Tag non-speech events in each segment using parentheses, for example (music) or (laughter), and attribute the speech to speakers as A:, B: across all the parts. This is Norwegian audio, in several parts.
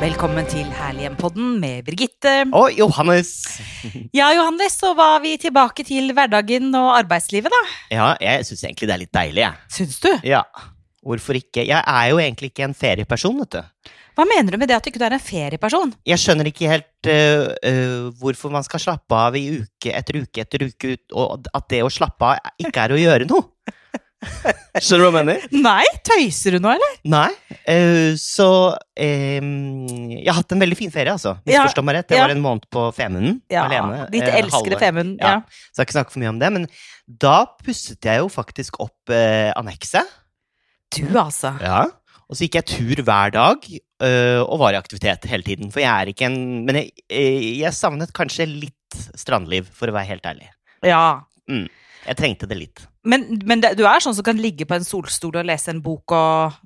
A: Velkommen til Herlighjem-podden med Birgitte.
B: Og Johannes!
A: Ja, Johannes, så var vi tilbake til hverdagen og arbeidslivet, da.
B: Ja, jeg syns egentlig det er litt deilig, jeg.
A: Syns du?
B: Ja. Hvorfor ikke? Jeg er jo egentlig ikke en ferieperson, vet du.
A: Hva mener du med det at du ikke er en ferieperson?
B: Jeg skjønner ikke helt øh, øh, hvorfor man skal slappe av i uke etter uke etter uke, ut, og at det å slappe av ikke er å gjøre noe. Skjønner du hva jeg mener?
A: Nei, tøyser du nå, eller?
B: Nei. øh, så ehm, Jeg har hatt en veldig fin ferie, altså.
A: Ja,
B: Misforstå meg rett. Jeg
A: ja.
B: var en måned på Femunden alene.
A: Ditt
B: eh,
A: elskede
B: halve-
A: Femund. Ja.
B: Ja. Så jeg har ikke snakket for mye om det. Men da pusset jeg jo faktisk opp eh, annekset.
A: Du, altså.
B: Ja. Og så gikk jeg tur hver dag øh, og var i aktivitet hele tiden. For jeg er ikke en Men jeg, eh, jeg savnet kanskje litt strandliv, for å være helt ærlig.
A: Ja.
B: Jeg trengte det litt.
A: Men, men det, du er sånn som kan ligge på en solstol og lese en bok og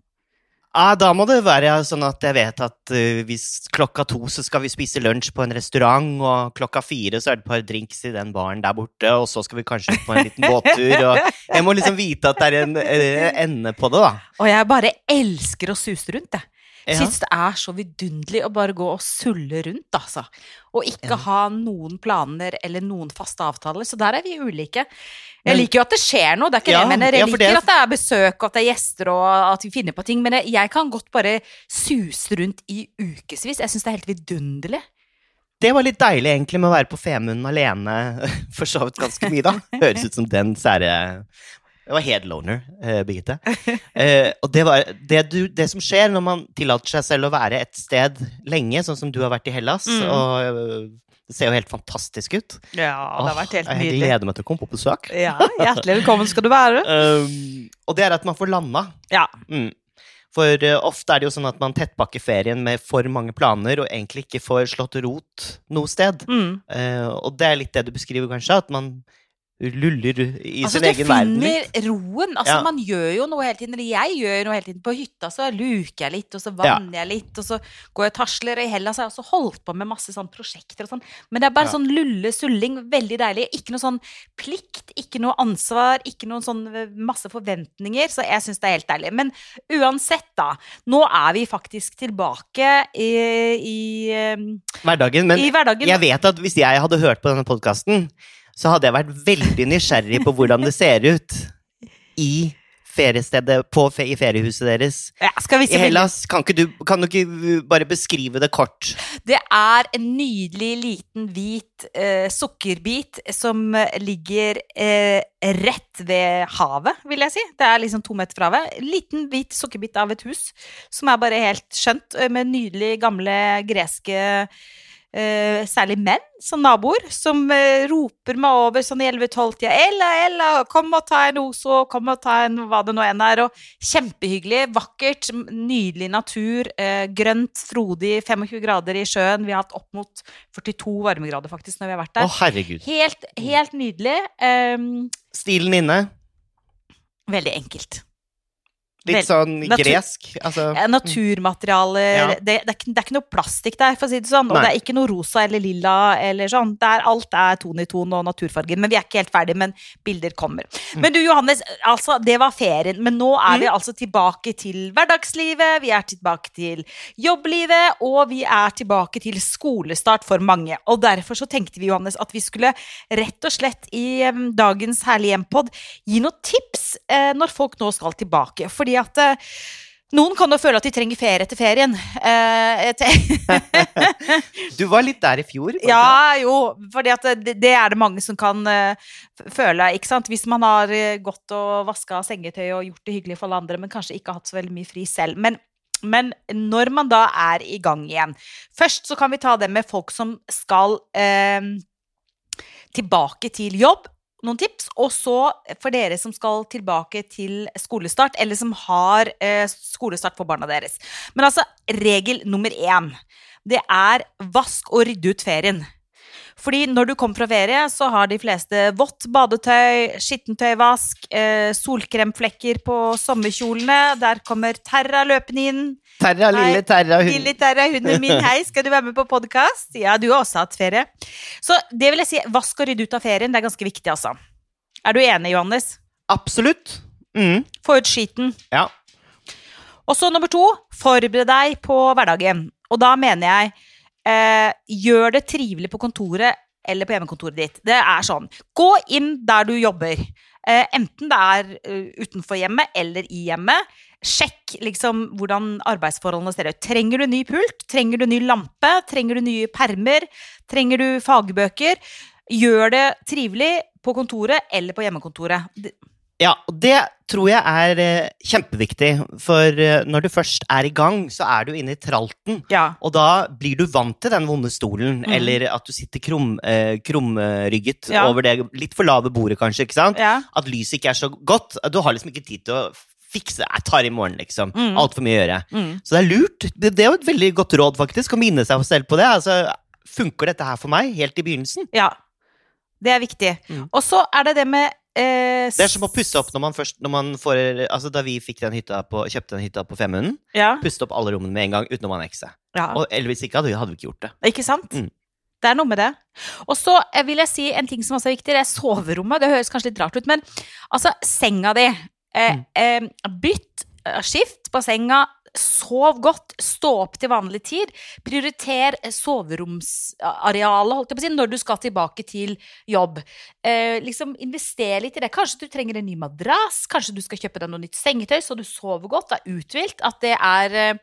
B: Ah, da må det være sånn at jeg vet at eh, hvis klokka to så skal vi spise lunsj på en restaurant, og klokka fire så er det et par drinks i den baren der borte, og så skal vi kanskje ut på en liten båttur. Og jeg må liksom vite at det er en eh, ende på det, da.
A: Og jeg bare elsker å suse rundt, jeg.
B: Ja.
A: Syns det er så vidunderlig å bare gå og sulle rundt, altså. Og ikke
B: Ja.
A: ha noen planer eller noen faste avtaler. Så der er vi ulike. Jeg
B: Men-
A: liker jo at det skjer noe, det er ikke
B: Ja,
A: det jeg mener. Jeg
B: ja, for
A: liker
B: det-
A: at det er besøk, og at det er gjester, og at vi finner på ting. Men jeg, jeg kan godt bare suse rundt i ukevis. Jeg syns det er helt vidunderlig.
B: Det var litt deilig egentlig med å være på Femunden alene, (laughs) for så vidt ganske mye, da. Høres ut som den sære Det var helt loner, eh, Birgitte. Eh, og det, var, det, du, det som skjer når man tillater seg selv å være et sted lenge, sånn som du har vært i Hellas,
A: Mm.
B: og eh, det ser jo helt fantastisk ut.
A: Ja,
B: Åh, jeg gleder meg til å komme på besøk.
A: hjertelig velkommen skal du være.
B: Um, og det er at man får landa.
A: Ja.
B: Mm. For eh, ofte er det jo sånn at man tettpakker ferien med for mange planer, og egentlig ikke får slått rot noe sted.
A: Mm.
B: Eh, og det er litt det du beskriver, kanskje, at man luller i
A: altså,
B: sin egen verden litt.
A: Du finner roen. Altså,
B: Ja.
A: Man gjør jo noe hele tiden. Eller jeg gjør noe hele tiden. På hytta så luker jeg litt, og så vanner jeg litt, og så går jeg og tasler. Og i Hellas har jeg også holdt på med masse sånn prosjekter og sånn. Men det er bare
B: Ja.
A: sånn lulle, sulling. Veldig deilig. Ikke noe sånn plikt, ikke noe ansvar, ikke noen sånn eh, masse forventninger. Så jeg syns det er helt deilig. Men uansett, da. Nå er vi faktisk tilbake i, i, eh,
B: Hverdagen, men
A: i hverdagen.
B: jeg vet at hvis jeg hadde hørt på denne podkasten, så hadde jeg vært veldig nysgjerrig på hvordan det ser ut i feriestedet, på fe i feriehuset deres.
A: ja, skal vi
B: I
A: se
B: Hellas, kan, ikke du, kan du ikke bare beskrive det kort?
A: Det er en nydelig liten hvit eh, sukkerbit som eh, ligger eh, rett ved havet, vil jeg si. Det er liksom to meter fra havet. Liten hvit sukkerbit av et hus som er bare helt skjønt, eh, med nydelig gamle greske eh, særlig menn som naboer, som eh, roper meg over sånn i 11-12-tida 'Ella, Ella, kom og ta en Oso, kom og ta en hva det nå enn er'. Og Kjempehyggelig, vakkert, m- nydelig natur. Eh, grønt, frodig, 25 grader i sjøen. Vi har hatt opp mot 42 varmegrader faktisk når vi har vært
B: Å,
A: der.
B: herregud.
A: Helt, helt nydelig. ehm,
B: Stilen inne.
A: veldig enkelt.
B: Litt sånn
A: natur-
B: gresk. Altså,
A: Eh, naturmaterialer
B: Ja.
A: det, det, er ikke, det er ikke noe plastikk der, for å si det sånn. Og
B: Nei.
A: det er ikke noe rosa eller lilla eller sånn. Det er, alt er ton i ton og naturfarger. Men vi er ikke helt ferdig, men bilder kommer.
B: Mm.
A: Men du Johannes, altså, det var ferien. Men nå er vi altså tilbake til hverdagslivet, vi er tilbake til jobblivet, og vi er tilbake til skolestart for mange. Og derfor så tenkte vi, Johannes, at vi skulle rett og slett i em, dagens Herlig hjem-pod gi noen tips eh, når folk nå skal tilbake. Fordi at eh, noen kan jo føle at de trenger ferie etter ferien. Eh, jeg te- (laughs)
B: du var litt der i fjor. var du ikke
A: ja, jo, for det, det er det mange som kan eh, f- føle. ikke sant? Hvis man har eh, gått og vaska sengetøy og gjort det hyggelig for alle andre, men kanskje ikke har hatt så veldig mye fri selv. Men, men når man da er i gang igjen Først så kan vi ta det med folk som skal eh, tilbake til jobb. Noen tips. Og så eh, for dere som skal tilbake til skolestart, eller som har eh, skolestart for barna deres. Men altså, regel nummer én det er vask og rydde ut ferien. Fordi når du kommer fra ferie, så har de fleste vått badetøy, skittentøyvask, eh, solkremflekker på sommerkjolene. Der kommer Terra løpende inn.
B: det? Terra,
A: Nei,
B: lille Terra, hun
A: Lille Terra, hunden min, hei, skal du være med på podkast? Ja, du har også hatt ferie. Så det vil jeg si, vask og rydde ut av ferien, det er ganske viktig, altså. Er du enig, Johannes?
B: Absolutt. Mm.
A: Få ut skiten.
B: Ja.
A: Og så nummer to, forbered deg på hverdagen. Og da mener jeg eh, gjør det trivelig på kontoret eller på hjemmekontoret ditt. Det er sånn. Gå inn der du jobber. Eh, enten det er eh, utenfor hjemmet eller i hjemmet. Sjekk liksom hvordan arbeidsforholdene ser ut. Trenger du ny pult? Trenger du ny lampe? Trenger du nye permer? Trenger du fagbøker? Gjør det trivelig på kontoret eller på hjemmekontoret. Det-
B: Ja, og det tror jeg er eh, kjempeviktig, for eh, når du først er i gang, så er du inne i tralten.
A: Ja.
B: Og da blir du vant til den vonde stolen,
A: Mm.
B: eller at du sitter krum, eh, krumrygget
A: Ja.
B: over det litt for lave bordet, kanskje. ikke sant?
A: ja.
B: At lyset ikke er så godt. Du har liksom ikke tid til å fikse Jeg tar i morgen, liksom.
A: Mm.
B: Altfor mye å gjøre.
A: Mm.
B: Så det er lurt. Det, det er jo et veldig godt råd, faktisk, å minne seg selv på det. Altså, Funker dette her for meg, helt i begynnelsen?
A: Ja. Det er viktig.
B: Mm.
A: Og så er det det med eh,
B: Det er som å pusse opp når man først når man får, altså Da vi fikk den hytta på, kjøpte den hytta på Femunden,
A: Ja.
B: puste opp alle rommene med en gang utenom annekset.
A: ja.
B: Og eller hvis ikke hadde vi, hadde vi ikke gjort det.
A: Ikke sant?
B: Mm.
A: Det er noe med det. Og så eh, vil jeg si en ting som også er viktig. Det er soverommet. Det høres kanskje litt rart ut, men altså, senga di. Eh,
B: Mm.
A: eh, bytt eh, skift på senga. Sov godt. Stå opp til vanlig tid. Prioriter eh, soveromsarealet, holdt jeg på å si, når du skal tilbake til jobb. Eh, liksom Invester litt i det. Kanskje du trenger en ny madrass. Kanskje du skal kjøpe deg noe nytt sengetøy, så du sover godt, er uthvilt. At det er eh,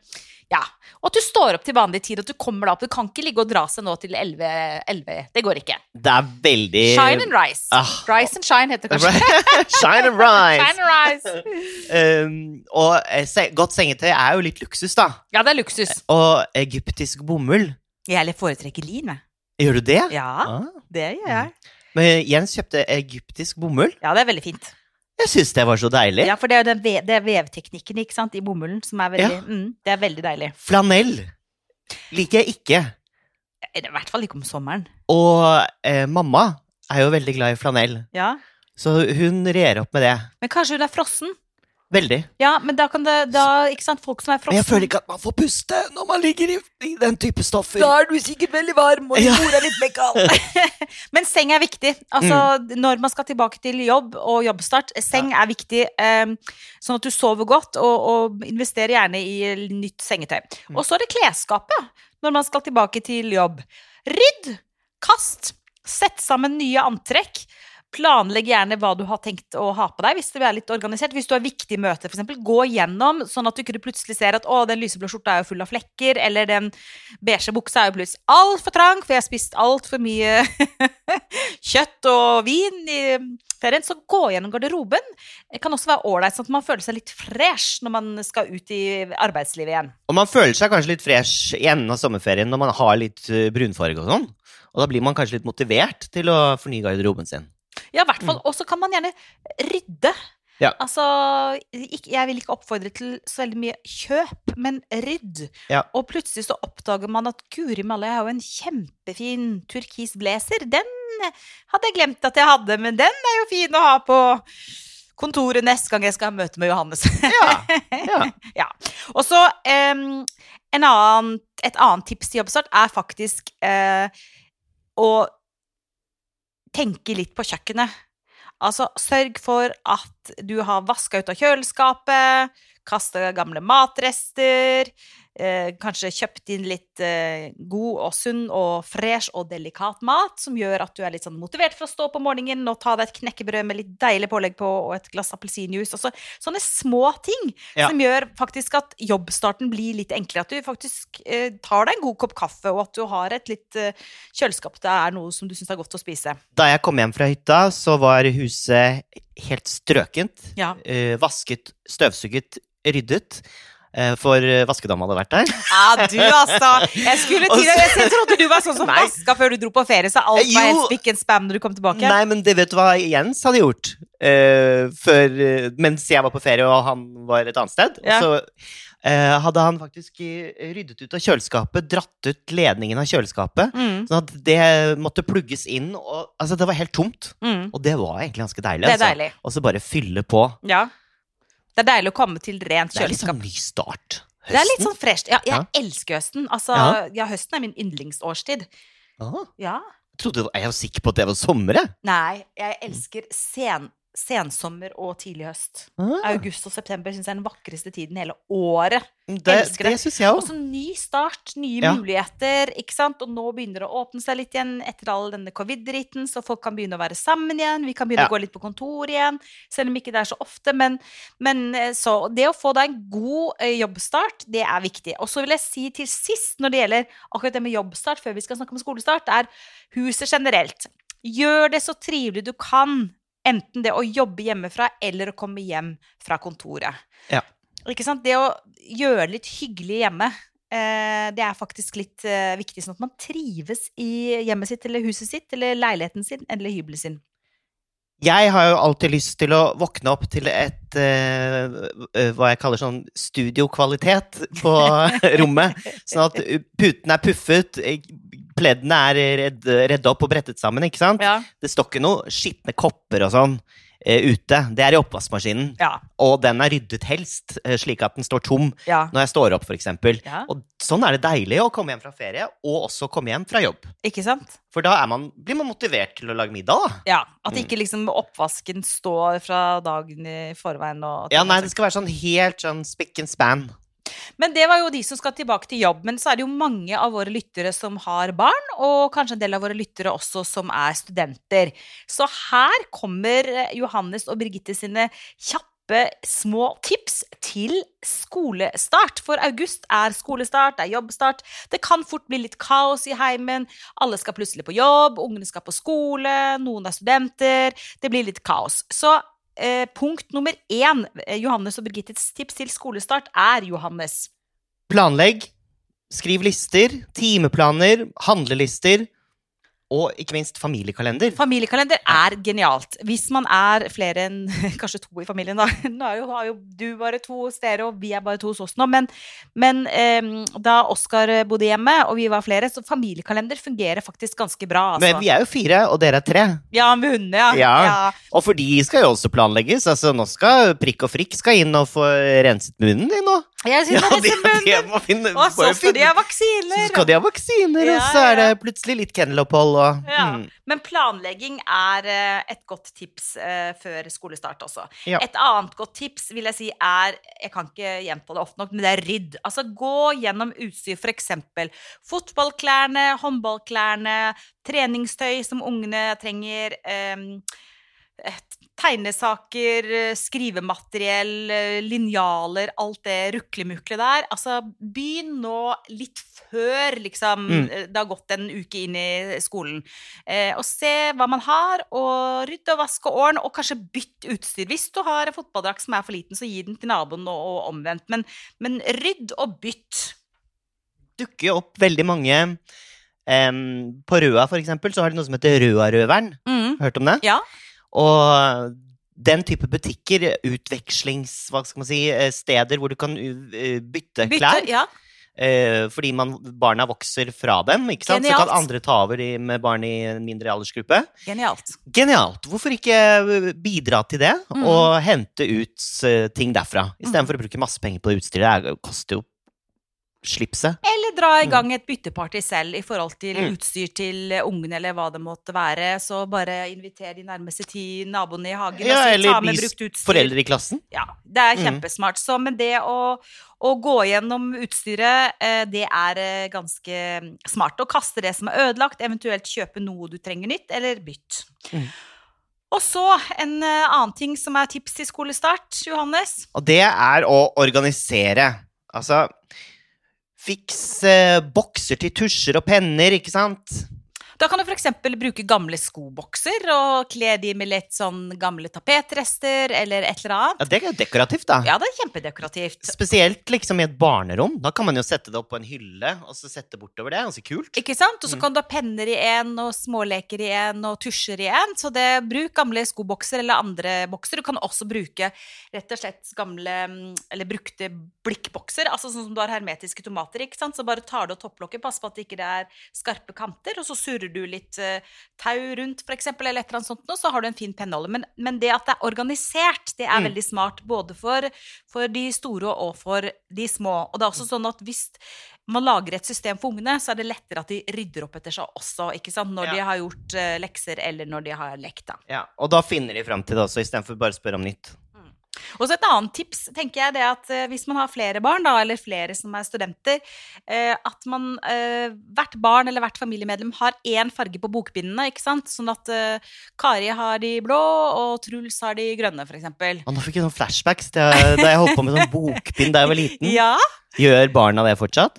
A: Ja. Og at du står opp til vanlig tid, og at du kommer deg opp. Du kan ikke ligge og dra seg nå til 11. 11. Det går ikke.
B: Det er veldig
A: Shine and rise.
B: Eh, Ah. (laughs)
A: Rise and shine heter det kanskje.
B: Shine and rise!
A: Shine and rise.
B: Um, og eh, se godt sengetøy er jo litt luksus, da.
A: Ja, det er luksus.
B: Og egyptisk bomull.
A: Jeg foretrekker lin, jeg.
B: Gjør du det?
A: Ja,
B: Ah.
A: det gjør jeg.
B: Men Jens kjøpte egyptisk bomull.
A: Ja, det er veldig fint.
B: Jeg syns det var så deilig.
A: Ja, for det er jo den ve det er vevteknikken ikke sant, i bomullen som er veldig
B: Ja.
A: mm, Det er veldig deilig.
B: Flanell liker jeg ikke.
A: I hvert fall ikke om sommeren.
B: Og eh, mamma er jo veldig glad i flanell,
A: Ja.
B: så hun rer opp med det.
A: Men kanskje hun er frossen?
B: Veldig.
A: Ja, men da kan det da, Ikke sant, folk som er
B: Men
A: frossen
B: jeg føler ikke at man får puste når man ligger i, i den type stoffer.
A: er du sikkert veldig varm, og
B: Ja.
A: bordet er litt
B: (laughs)
A: bekal. Men seng er viktig. Altså, Når man skal tilbake til jobb og jobbstart, seng er viktig. eh, sånn at du sover godt, og, og investerer gjerne i nytt sengetøy.
B: Mm.
A: Og så er det klesskapet når man skal tilbake til jobb. Rydd! Kast! Sett sammen nye antrekk. Planlegg gjerne hva du har tenkt å ha på deg. Hvis du er litt organisert. Hvis du har viktige møter, f.eks. Gå gjennom, sånn at du ikke plutselig ser at 'Å, den lyseblå skjorta er jo full av flekker', eller 'den beige buksa er jo plutselig altfor trang', for jeg har spist altfor mye kjøtt og vin i ferien. Så gå gjennom garderoben. Det kan også være ålreit, sånn at man føler seg litt fresh når man skal ut i arbeidslivet igjen.
B: Og man føler seg kanskje litt fresh i enden av sommerferien når man har litt eh, brunfarge og sånn. Og da blir man kanskje litt motivert til å fornye garderoben sin.
A: Ja, i hvert fall. Og så kan man gjerne rydde.
B: Mm. Ja.
A: Altså, ikk- jeg vil ikke oppfordre til så veldig mye kjøp, men rydd.
B: Ja.
A: Og plutselig så oppdager man at guri malla, jeg har jo en kjempefin turkis blazer. Den hadde jeg glemt at jeg hadde, men den er jo fin å ha på kontoret neste gang jeg skal ha møte med Johannes.
B: Ja, ja.
A: Ja. Og så em, en annen, et annet tips til jobbstart er faktisk eh, å tenke litt på kjøkkenet. Altså, sørg for at du har vaska ut av kjøleskapet, kasta gamle matrester, eh, kanskje kjøpt inn litt eh, god og sunn og fresh og delikat mat, som gjør at du er litt sånn motivert for å stå opp om morgenen og ta deg et knekkebrød med litt deilig pålegg på og et glass appelsinjuice. Altså, sånne små ting
B: Ja.
A: som gjør faktisk at jobbstarten blir litt enklere. At du faktisk eh, tar deg en god kopp kaffe, og at du har et litt eh, kjøleskap det er noe som du syns er godt å spise.
B: Da jeg kom hjem fra hytta, så var huset helt strøkent.
A: Ja.
B: Eh, vasket, støvsuget, ryddet. Eh, for eh, vaskedama hadde vært der.
A: Ja, du altså. Jeg skulle
B: Og
A: til deg, jeg trodde du var sånn som
B: Nei.
A: vaska før du dro på ferie, så alt var
B: Jo.
A: helt spikk and spam når du kom tilbake.
B: Nei, men det vet du hva Jens hadde gjort eh, før, eh, mens jeg var på ferie og han var et annet sted.
A: Ja.
B: Så eh, hadde han faktisk eh, ryddet ut av kjøleskapet, dratt ut ledningen av kjøleskapet.
A: Mm,
B: Sånn at det måtte plugges inn, og altså, det var helt tomt.
A: mm.
B: Og det var egentlig ganske deilig.
A: Det er
B: altså.
A: deilig.
B: Og så bare fylle på.
A: Ja. Det er deilig å komme til rent
B: Det er litt
A: kjøleskap.
B: sånn ny start.
A: Det er litt sånn fresht. Ja, jeg
B: Ja.
A: elsker høsten. Altså,
B: Ja.
A: ja, høsten er min yndlingsårstid.
B: Ah,
A: Ja.
B: trodde, jeg var sikker på at det var sommer, jeg.
A: Nei, jeg elsker sen, sensommer og tidlig høst.
B: Ah,
A: August og september syns jeg er den vakreste tiden hele året.
B: det
A: elsker det.
B: det syns jeg
A: Og
B: òg.
A: så ny start, nye
B: Ja.
A: muligheter, ikke sant? Og nå begynner det å åpne seg litt igjen etter all denne covid-dritten, så folk kan begynne å være sammen igjen, vi kan begynne
B: Ja.
A: å gå litt på kontor igjen, selv om ikke det er så ofte, men, men eh, så det å få da en god eh, jobbstart, det er viktig. Og så vil jeg si til sist, når det gjelder akkurat det med jobbstart, før vi skal snakke om skolestart, er huset generelt. Gjør det så trivelig du kan, enten det å jobbe hjemmefra eller å komme hjem fra kontoret.
B: Ja.
A: Ikke sant? Det å gjøre det litt hyggelig hjemme, eh, det er faktisk litt eh, viktig, sånn at man trives i hjemmet sitt eller huset sitt eller leiligheten sin eller hybelen sin.
B: Jeg har jo alltid lyst til å våkne opp til et eh, eh, hva jeg kaller sånn studiokvalitet på
A: (laughs)
B: rommet. Sånn at putene er puffet, eh, pleddene er redd, redd opp og brettet sammen. ikke sant?
A: Ja.
B: Det står ikke noe skitne kopper og sånn eh, ute. Det er i oppvaskmaskinen.
A: Ja.
B: Og den er ryddet helst, eh, slik at den står tom
A: ja.
B: når jeg står opp, f.eks.
A: Ja.
B: Og sånn er det deilig å komme hjem fra ferie, og også komme hjem fra jobb.
A: Ikke sant?
B: For da er man, blir man motivert til å lage middag, da.
A: Ja. At
B: Mm.
A: ikke liksom oppvasken står fra dagen i forveien og
B: Ja, nei, det skal være sånn helt sånn spick and span.
A: Men det var jo de som skal tilbake til jobb. Men så er det jo mange av våre lyttere som har barn, og kanskje en del av våre lyttere også som er studenter. Så her kommer eh, Johannes og Birgitte sine kjappe små tips til skolestart. For august er skolestart, det er jobbstart. Det kan fort bli litt kaos i heimen. Alle skal plutselig på jobb, ungene skal på skole, noen er studenter. Det blir litt kaos. Så eh, punkt nummer én, eh, Johannes og Birgittes tips til skolestart, er Johannes.
B: Planlegg, skriv lister, timeplaner, handlelister, og ikke minst familiekalender.
A: Familiekalender er genialt. Hvis man er flere enn (laughs) kanskje to i familien, da. (laughs) Nå er jo, har jo du bare to steder, og vi er bare to hos oss nå. Men, men em, da Oskar bodde hjemme, og vi var flere, så familiekalender fungerer faktisk ganske bra. Altså.
B: Men vi er jo fire, og dere er tre.
A: Ja, med hundene, ja.
B: Ja. Og for de skal jo også planlegges. Altså, nå skal Prikk og Frikk skal inn og få renset munnen din nå.
A: Jeg synes det er
B: de,
A: litt spennende.
B: de må finne,
A: Og så
B: må jo
A: skal de
B: finne-
A: ha vaksiner.
B: så skal de ha vaksiner,
A: Ja,
B: og så er det
A: ja.
B: plutselig litt kennelopphold og
A: Ja.
B: mm.
A: Men planlegging er eh, et godt tips eh, før skolestart også.
B: Ja.
A: Et annet godt tips vil jeg si er Jeg kan ikke gjenta det ofte nok, men det er rydd. Altså gå gjennom utstyr, f.eks. fotballklærne, håndballklærne, treningstøy som ungene trenger. em, et- Tegnesaker, eh, skrivemateriell, eh, linjaler, alt det ruklemuklet der. Altså, begynn nå litt før liksom,
B: Mm.
A: eh, det har gått en uke inn i skolen. Eh, og se hva man har, og rydde og vaske og ordne, og kanskje bytt utstyr. Hvis du har en fotballdrakt som er for liten, så gi den til naboen, og, og omvendt. Men, men rydd og bytt.
B: dukker jo opp veldig mange em, På Røa, for eksempel, så har de noe som heter Røarøveren.
A: Mm.
B: Hørt om det?
A: Ja.
B: Og den type butikker, utvekslings... Hva skal man si? eh, Steder hvor du kan u- eh, bytte, klær.
A: Bytte, ja.
B: eh, Fordi man, barna vokser fra dem, ikke sant? Så
A: Genialt.
B: kan andre ta over de med barn i en mindre aldersgruppe.
A: Genialt.
B: Genialt! Hvorfor ikke eh, bidra til det,
A: Mhm.
B: og hente ut eh, ting derfra?
A: Mm.
B: Istedenfor å bruke masse penger på det utstyret. Det er- koster jo slipset.
A: Eller dra i
B: Mm.
A: gang et bytteparty selv i forhold til
B: Mm.
A: utstyr til eh, ungene eller hva det måtte være. Så bare inviter de nærmeste ti naboene i hagen
B: Ja,
A: og si,
B: eller
A: ta med
B: de
A: brukt utstyr.
B: Foreldre i klassen.
A: Ja, det er
B: Mm.
A: kjempesmart. Så, men det å, å gå gjennom utstyret, eh, det er eh, ganske smart. Å kaste det som er ødelagt, eventuelt kjøpe noe du trenger nytt, eller bytt.
B: Mm.
A: Og så en eh, annen ting som er tips til skolestart, Johannes.
B: Og det er å organisere. Altså Fiks eh, bokser til tusjer og penner, ikke sant?
A: Da kan du f.eks. bruke gamle skobokser og kle de med litt sånn gamle tapetrester eller et eller annet.
B: Ja, det er jo dekorativt, da.
A: Ja, det er kjempedekorativt.
B: Spesielt liksom i et barnerom. Da kan man jo sette det opp på en hylle og så sette bortover det. Ganske kult. Mm.
A: Ikke sant? Og så kan du ha penner i en, og småleker i en, og tusjer i en. Så det, bruk gamle skobokser eller andre bokser. Du kan også bruke rett og slett gamle mm, eller brukte blikkbokser. Altså sånn som du har hermetiske tomater, ikke sant. Så bare tar du av topplokket, pass på at det ikke er skarpe kanter, og så surrer du litt eh, tau rundt, for eksempel, eller et eller annet sånt, og så har du en fin penneholder. Men, men det at det er organisert, det er
B: Mm. Mm.
A: veldig smart, både for, for de store og for de små. Og det er også sånn at hvis man lager et system for ungene, så er det lettere at de rydder opp etter seg også, ikke sant? Når
B: Ja.
A: de har gjort eh, lekser, eller når de har lekt, da.
B: Ja, og da finner de fram til det også, istedenfor bare å spørre om nytt.
A: Og så et annet tips, tenker jeg, det er at eh, hvis man har flere barn, da, eller flere som er studenter, eh, at man, eh, hvert barn eller hvert familiemedlem har én farge på bokbindene, ikke sant? Sånn at eh, Kari har de blå, og Truls har de grønne, for eksempel.
B: Og nå fikk jeg sånn flashbacks til jeg- da jeg holdt på med sånn bokbind da jeg var liten.
A: (laughs) Ja,
B: Gjør barna det fortsatt?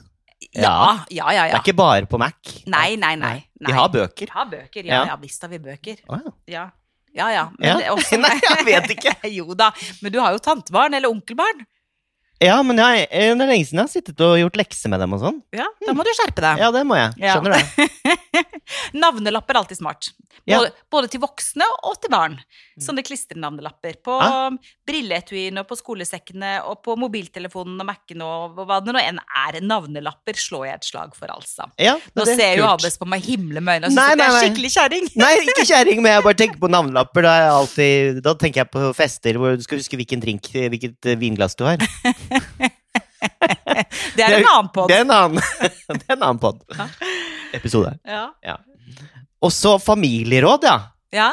A: ja, ja, ja.
B: Det er
A: ja.
B: ikke bare på Mac.
A: Nei, nei, nei. nei.
B: De har bøker.
A: Vi har bøker, ja,
B: Ja.
A: ja visst har vi bøker.
B: Å, ja.
A: Ja, ja. ja. Men
B: Ja.
A: det er også,
B: (laughs) Nei, jeg vet ikke.
A: (laughs) jo da, men du har jo tantebarn eller onkelbarn.
B: Ja, men jeg, eh, det er lenge siden jeg har sittet og gjort lekser med dem og sånn.
A: Ja, Da må du skjerpe deg.
B: Ja, det må jeg.
A: Ja.
B: Skjønner det.
A: Navnelapper er alltid smart.
B: Ja. Mm.
A: Både, både til voksne og til barn. Sånne klistrenavnelapper på
B: Ja.
A: um, brilleetuiene og på skolesekkene og på mobiltelefonen og Mac-en og hva det nå enn er. Navnelapper slår jeg et slag for, altså.
B: Ja,
A: (laughs) Nå
B: det er
A: ser jo
B: kult.
A: Abes på meg himle med øynene og
B: Nei,
A: syns at jeg
B: nei,
A: er
B: nei.
A: skikkelig kjerring.
B: (laughs) Nei, ikke kjerring, men jeg bare tenker på navnelapper. Da, er jeg alltid, da tenker jeg på fester hvor du skal huske hvilken drink, hvilket eh, vinglass du har.
A: Det er
B: Det er-
A: en annen pod.
B: Det er en annen, (laughs) det er en annen pod.
A: Ja.
B: Episode.
A: Ja.
B: Og så familieråd, ja.
A: ja.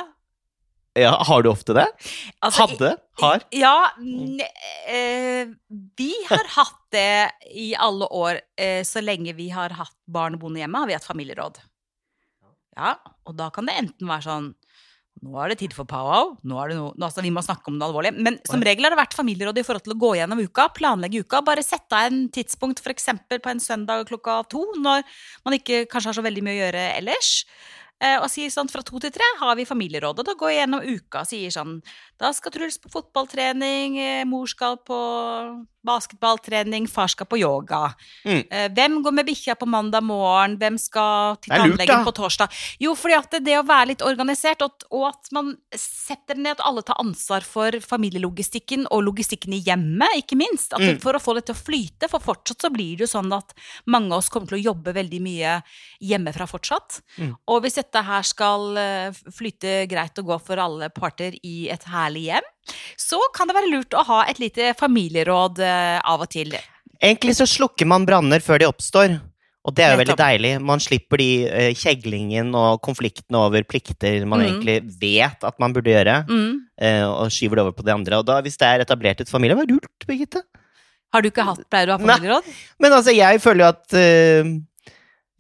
B: ja. Har du ofte det?
A: Altså, i-
B: Hadde? Har?
A: Ja, n eh, vi har hatt det i alle år. Eh, så lenge vi har hatt barn boende hjemme, har vi hatt familieråd. Ja, og da kan det enten være sånn nå er det tid for powwow. Nå er det no, nå, altså, vi må snakke om det alvorlige. Men som regel har det vært familieråd i forhold til å gå gjennom uka, planlegge uka. Bare sette av en tidspunkt, f.eks. på en søndag klokka to, når man ikke kanskje har så veldig mye å gjøre ellers. Eh, og sier sånn fra to til tre har vi familierådet. Da går jeg gjennom uka og sier sånn da skal Truls på fotballtrening, eh, mor skal på basketballtrening, far skal på yoga.
B: Mm.
A: Eh, Hvem går med bikkja på mandag morgen, hvem skal til
B: Det er lurt,
A: tannlegen
B: da.
A: på torsdag? Jo, fordi at det, det å være litt organisert, og, at- og at man setter ned at alle tar ansvar for familielogistikken og logistikken i hjemmet, ikke minst. At,
B: Mm.
A: For å få det til å flyte, for fortsatt så blir det jo sånn at mange av oss kommer til å jobbe veldig mye hjemmefra fortsatt.
B: Mm.
A: Og hvis dette her skal eh, flyte greit og gå for alle parter i et herlig hjem, så kan det være lurt å ha et lite familieråd eh, av og til.
B: Egentlig så slukker man branner før de oppstår. Og det er jo veldig
A: Nettopp.
B: deilig. Man slipper de eh, kjeglingen og konfliktene over plikter man
A: Mm.
B: egentlig vet at man burde gjøre,
A: Mm.
B: eh, og skyver det over på de andre. Og da, hvis det er etablert et familie, det var lurt, Birgitte.
A: Har du ikke hatt, pleier du å ha
B: Nei.
A: familieråd?
B: Men altså, jeg føler jo at eh,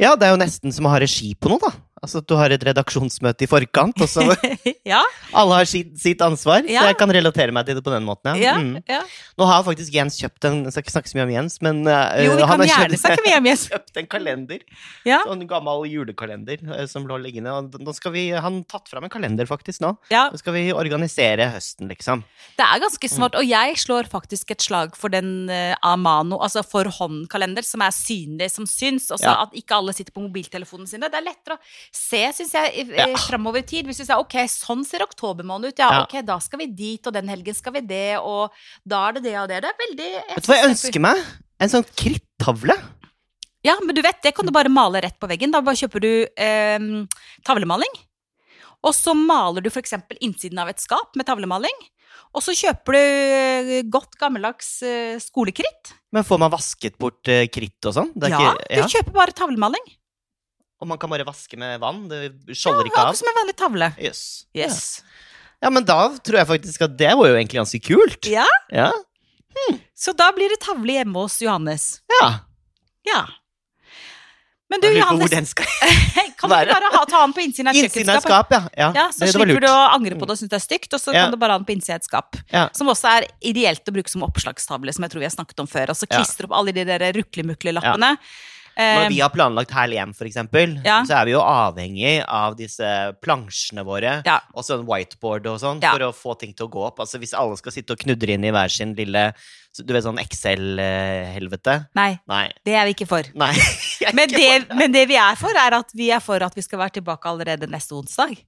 B: Ja, det er jo nesten som å ha regi på noe, da. Altså at du har et redaksjonsmøte i forkant, og så
A: (laughs) ja,
B: alle har sitt, sitt ansvar.
A: Ja.
B: Så jeg kan relatere meg til det på den måten,
A: ja,
B: ja. Mm.
A: ja.
B: Nå har faktisk Jens kjøpt en Jeg skal ikke snakke så mye om Jens, men eh,
A: Jo, vi
B: han
A: kan
B: har
A: gjerne
B: kjøpt- (laughs)
A: snakke med Jens.
B: kjøpt en kalender.
A: Ja.
B: Sånn gammel julekalender eh, som lå liggende. Og nå skal vi, han tatt fram en kalender faktisk nå.
A: Ja,
B: Nå skal vi organisere høsten, liksom.
A: Det er ganske smart, og jeg slår faktisk et slag for den eh, Amano, altså for håndkalender, som er synlig, som syns, og så
B: Ja.
A: at ikke alle sitter på mobiltelefonene sine. Det er lettere å se, syns jeg, ja.
B: Ja.
A: framover i tid. Hvis vi sier ok, sånn ser oktober måned ut, ja,
B: Ja.
A: ok, da skal vi dit, og den helgen skal vi det, og da er det det og det. Det er veldig
B: Vet du hva jeg ønsker meg? En sånn krittavle.
A: Ja, men du vet, det kan du bare male rett på veggen. Da bare kjøper du eh, tavlemaling. Og så maler du f.eks. innsiden av et skap med tavlemaling. Og så kjøper du eh, godt gammeldags eh, skolekritt.
B: Men får man vasket bort eh, kritt og sånn? Det er
A: Ja,
B: ikke- ja.
A: du kjøper bare tavlemaling.
B: Og man kan bare vaske med vann? Det skjolder ikke
A: Akkurat
B: av?
A: som en vanlig tavle.
B: Yes.
A: Yes.
B: Ja. ja, men da tror jeg faktisk at det var jo egentlig ganske kult.
A: Ja.
B: Ja.
A: Så da blir det tavle hjemme hos Johannes.
B: ja.
A: Ja. Men du,
B: Jeg lurer på hvor
A: Johannes,
B: den skal
A: (laughs) kan du ikke
B: være.
A: bare ha, ta han på innsiden av
B: Innsiden av
A: kjøkkenskapet?
B: skap, ja. ja.
A: Ja, så
B: det, det var
A: slipper
B: lurt.
A: du å angre på det og synes det er stygt, og så
B: Ja.
A: kan du bare ha den på innsida av et skap.
B: Ja.
A: Som også er ideelt å bruke som oppslagstavle, som jeg tror vi har snakket om før. Og så
B: Ja.
A: klistre opp alle de der ruklemuklelappene.
B: Når
A: Eh,
B: vi har planlagt Herlig hjem, for eksempel,
A: Ja.
B: så er vi jo avhengig av disse plansjene våre,
A: Ja.
B: og sånn whiteboard og sånn,
A: Ja.
B: for å få ting til å gå opp. Altså Hvis alle skal sitte og knudre inn i hver sin lille så- Du vet sånn Excel-helvete?
A: Nei,
B: Nei.
A: det er vi ikke for.
B: Nei. (laughs) jeg er
A: Men
B: ikke
A: det,
B: for det.
A: men det vi er for, er at vi er for at vi skal være tilbake allerede neste onsdag.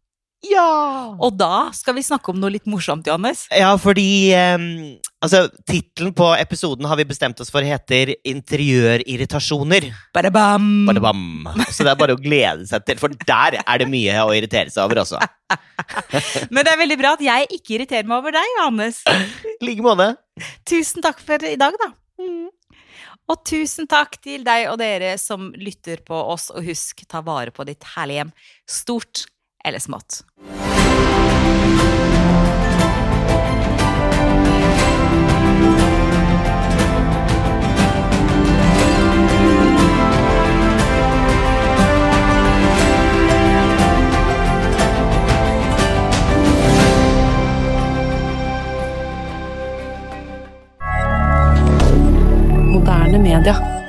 B: Ja!
A: Og da skal vi snakke om noe litt morsomt, Johannes.
B: Ja, fordi um, Altså, tittelen på episoden har vi bestemt oss for heter 'Interiørirritasjoner'.
A: Bare bam!
B: Bare bam. Så det er bare å glede seg til, for der er det mye å irritere seg over,
A: (laughs)
B: altså.
A: Men det er veldig bra at jeg ikke irriterer meg over deg, Johannes.
B: I like måte.
A: Tusen takk for i dag, da. Og tusen takk til deg og dere som lytter på oss, og husk, ta vare på ditt herlige hjem, stort eller smått.
C: moderne media.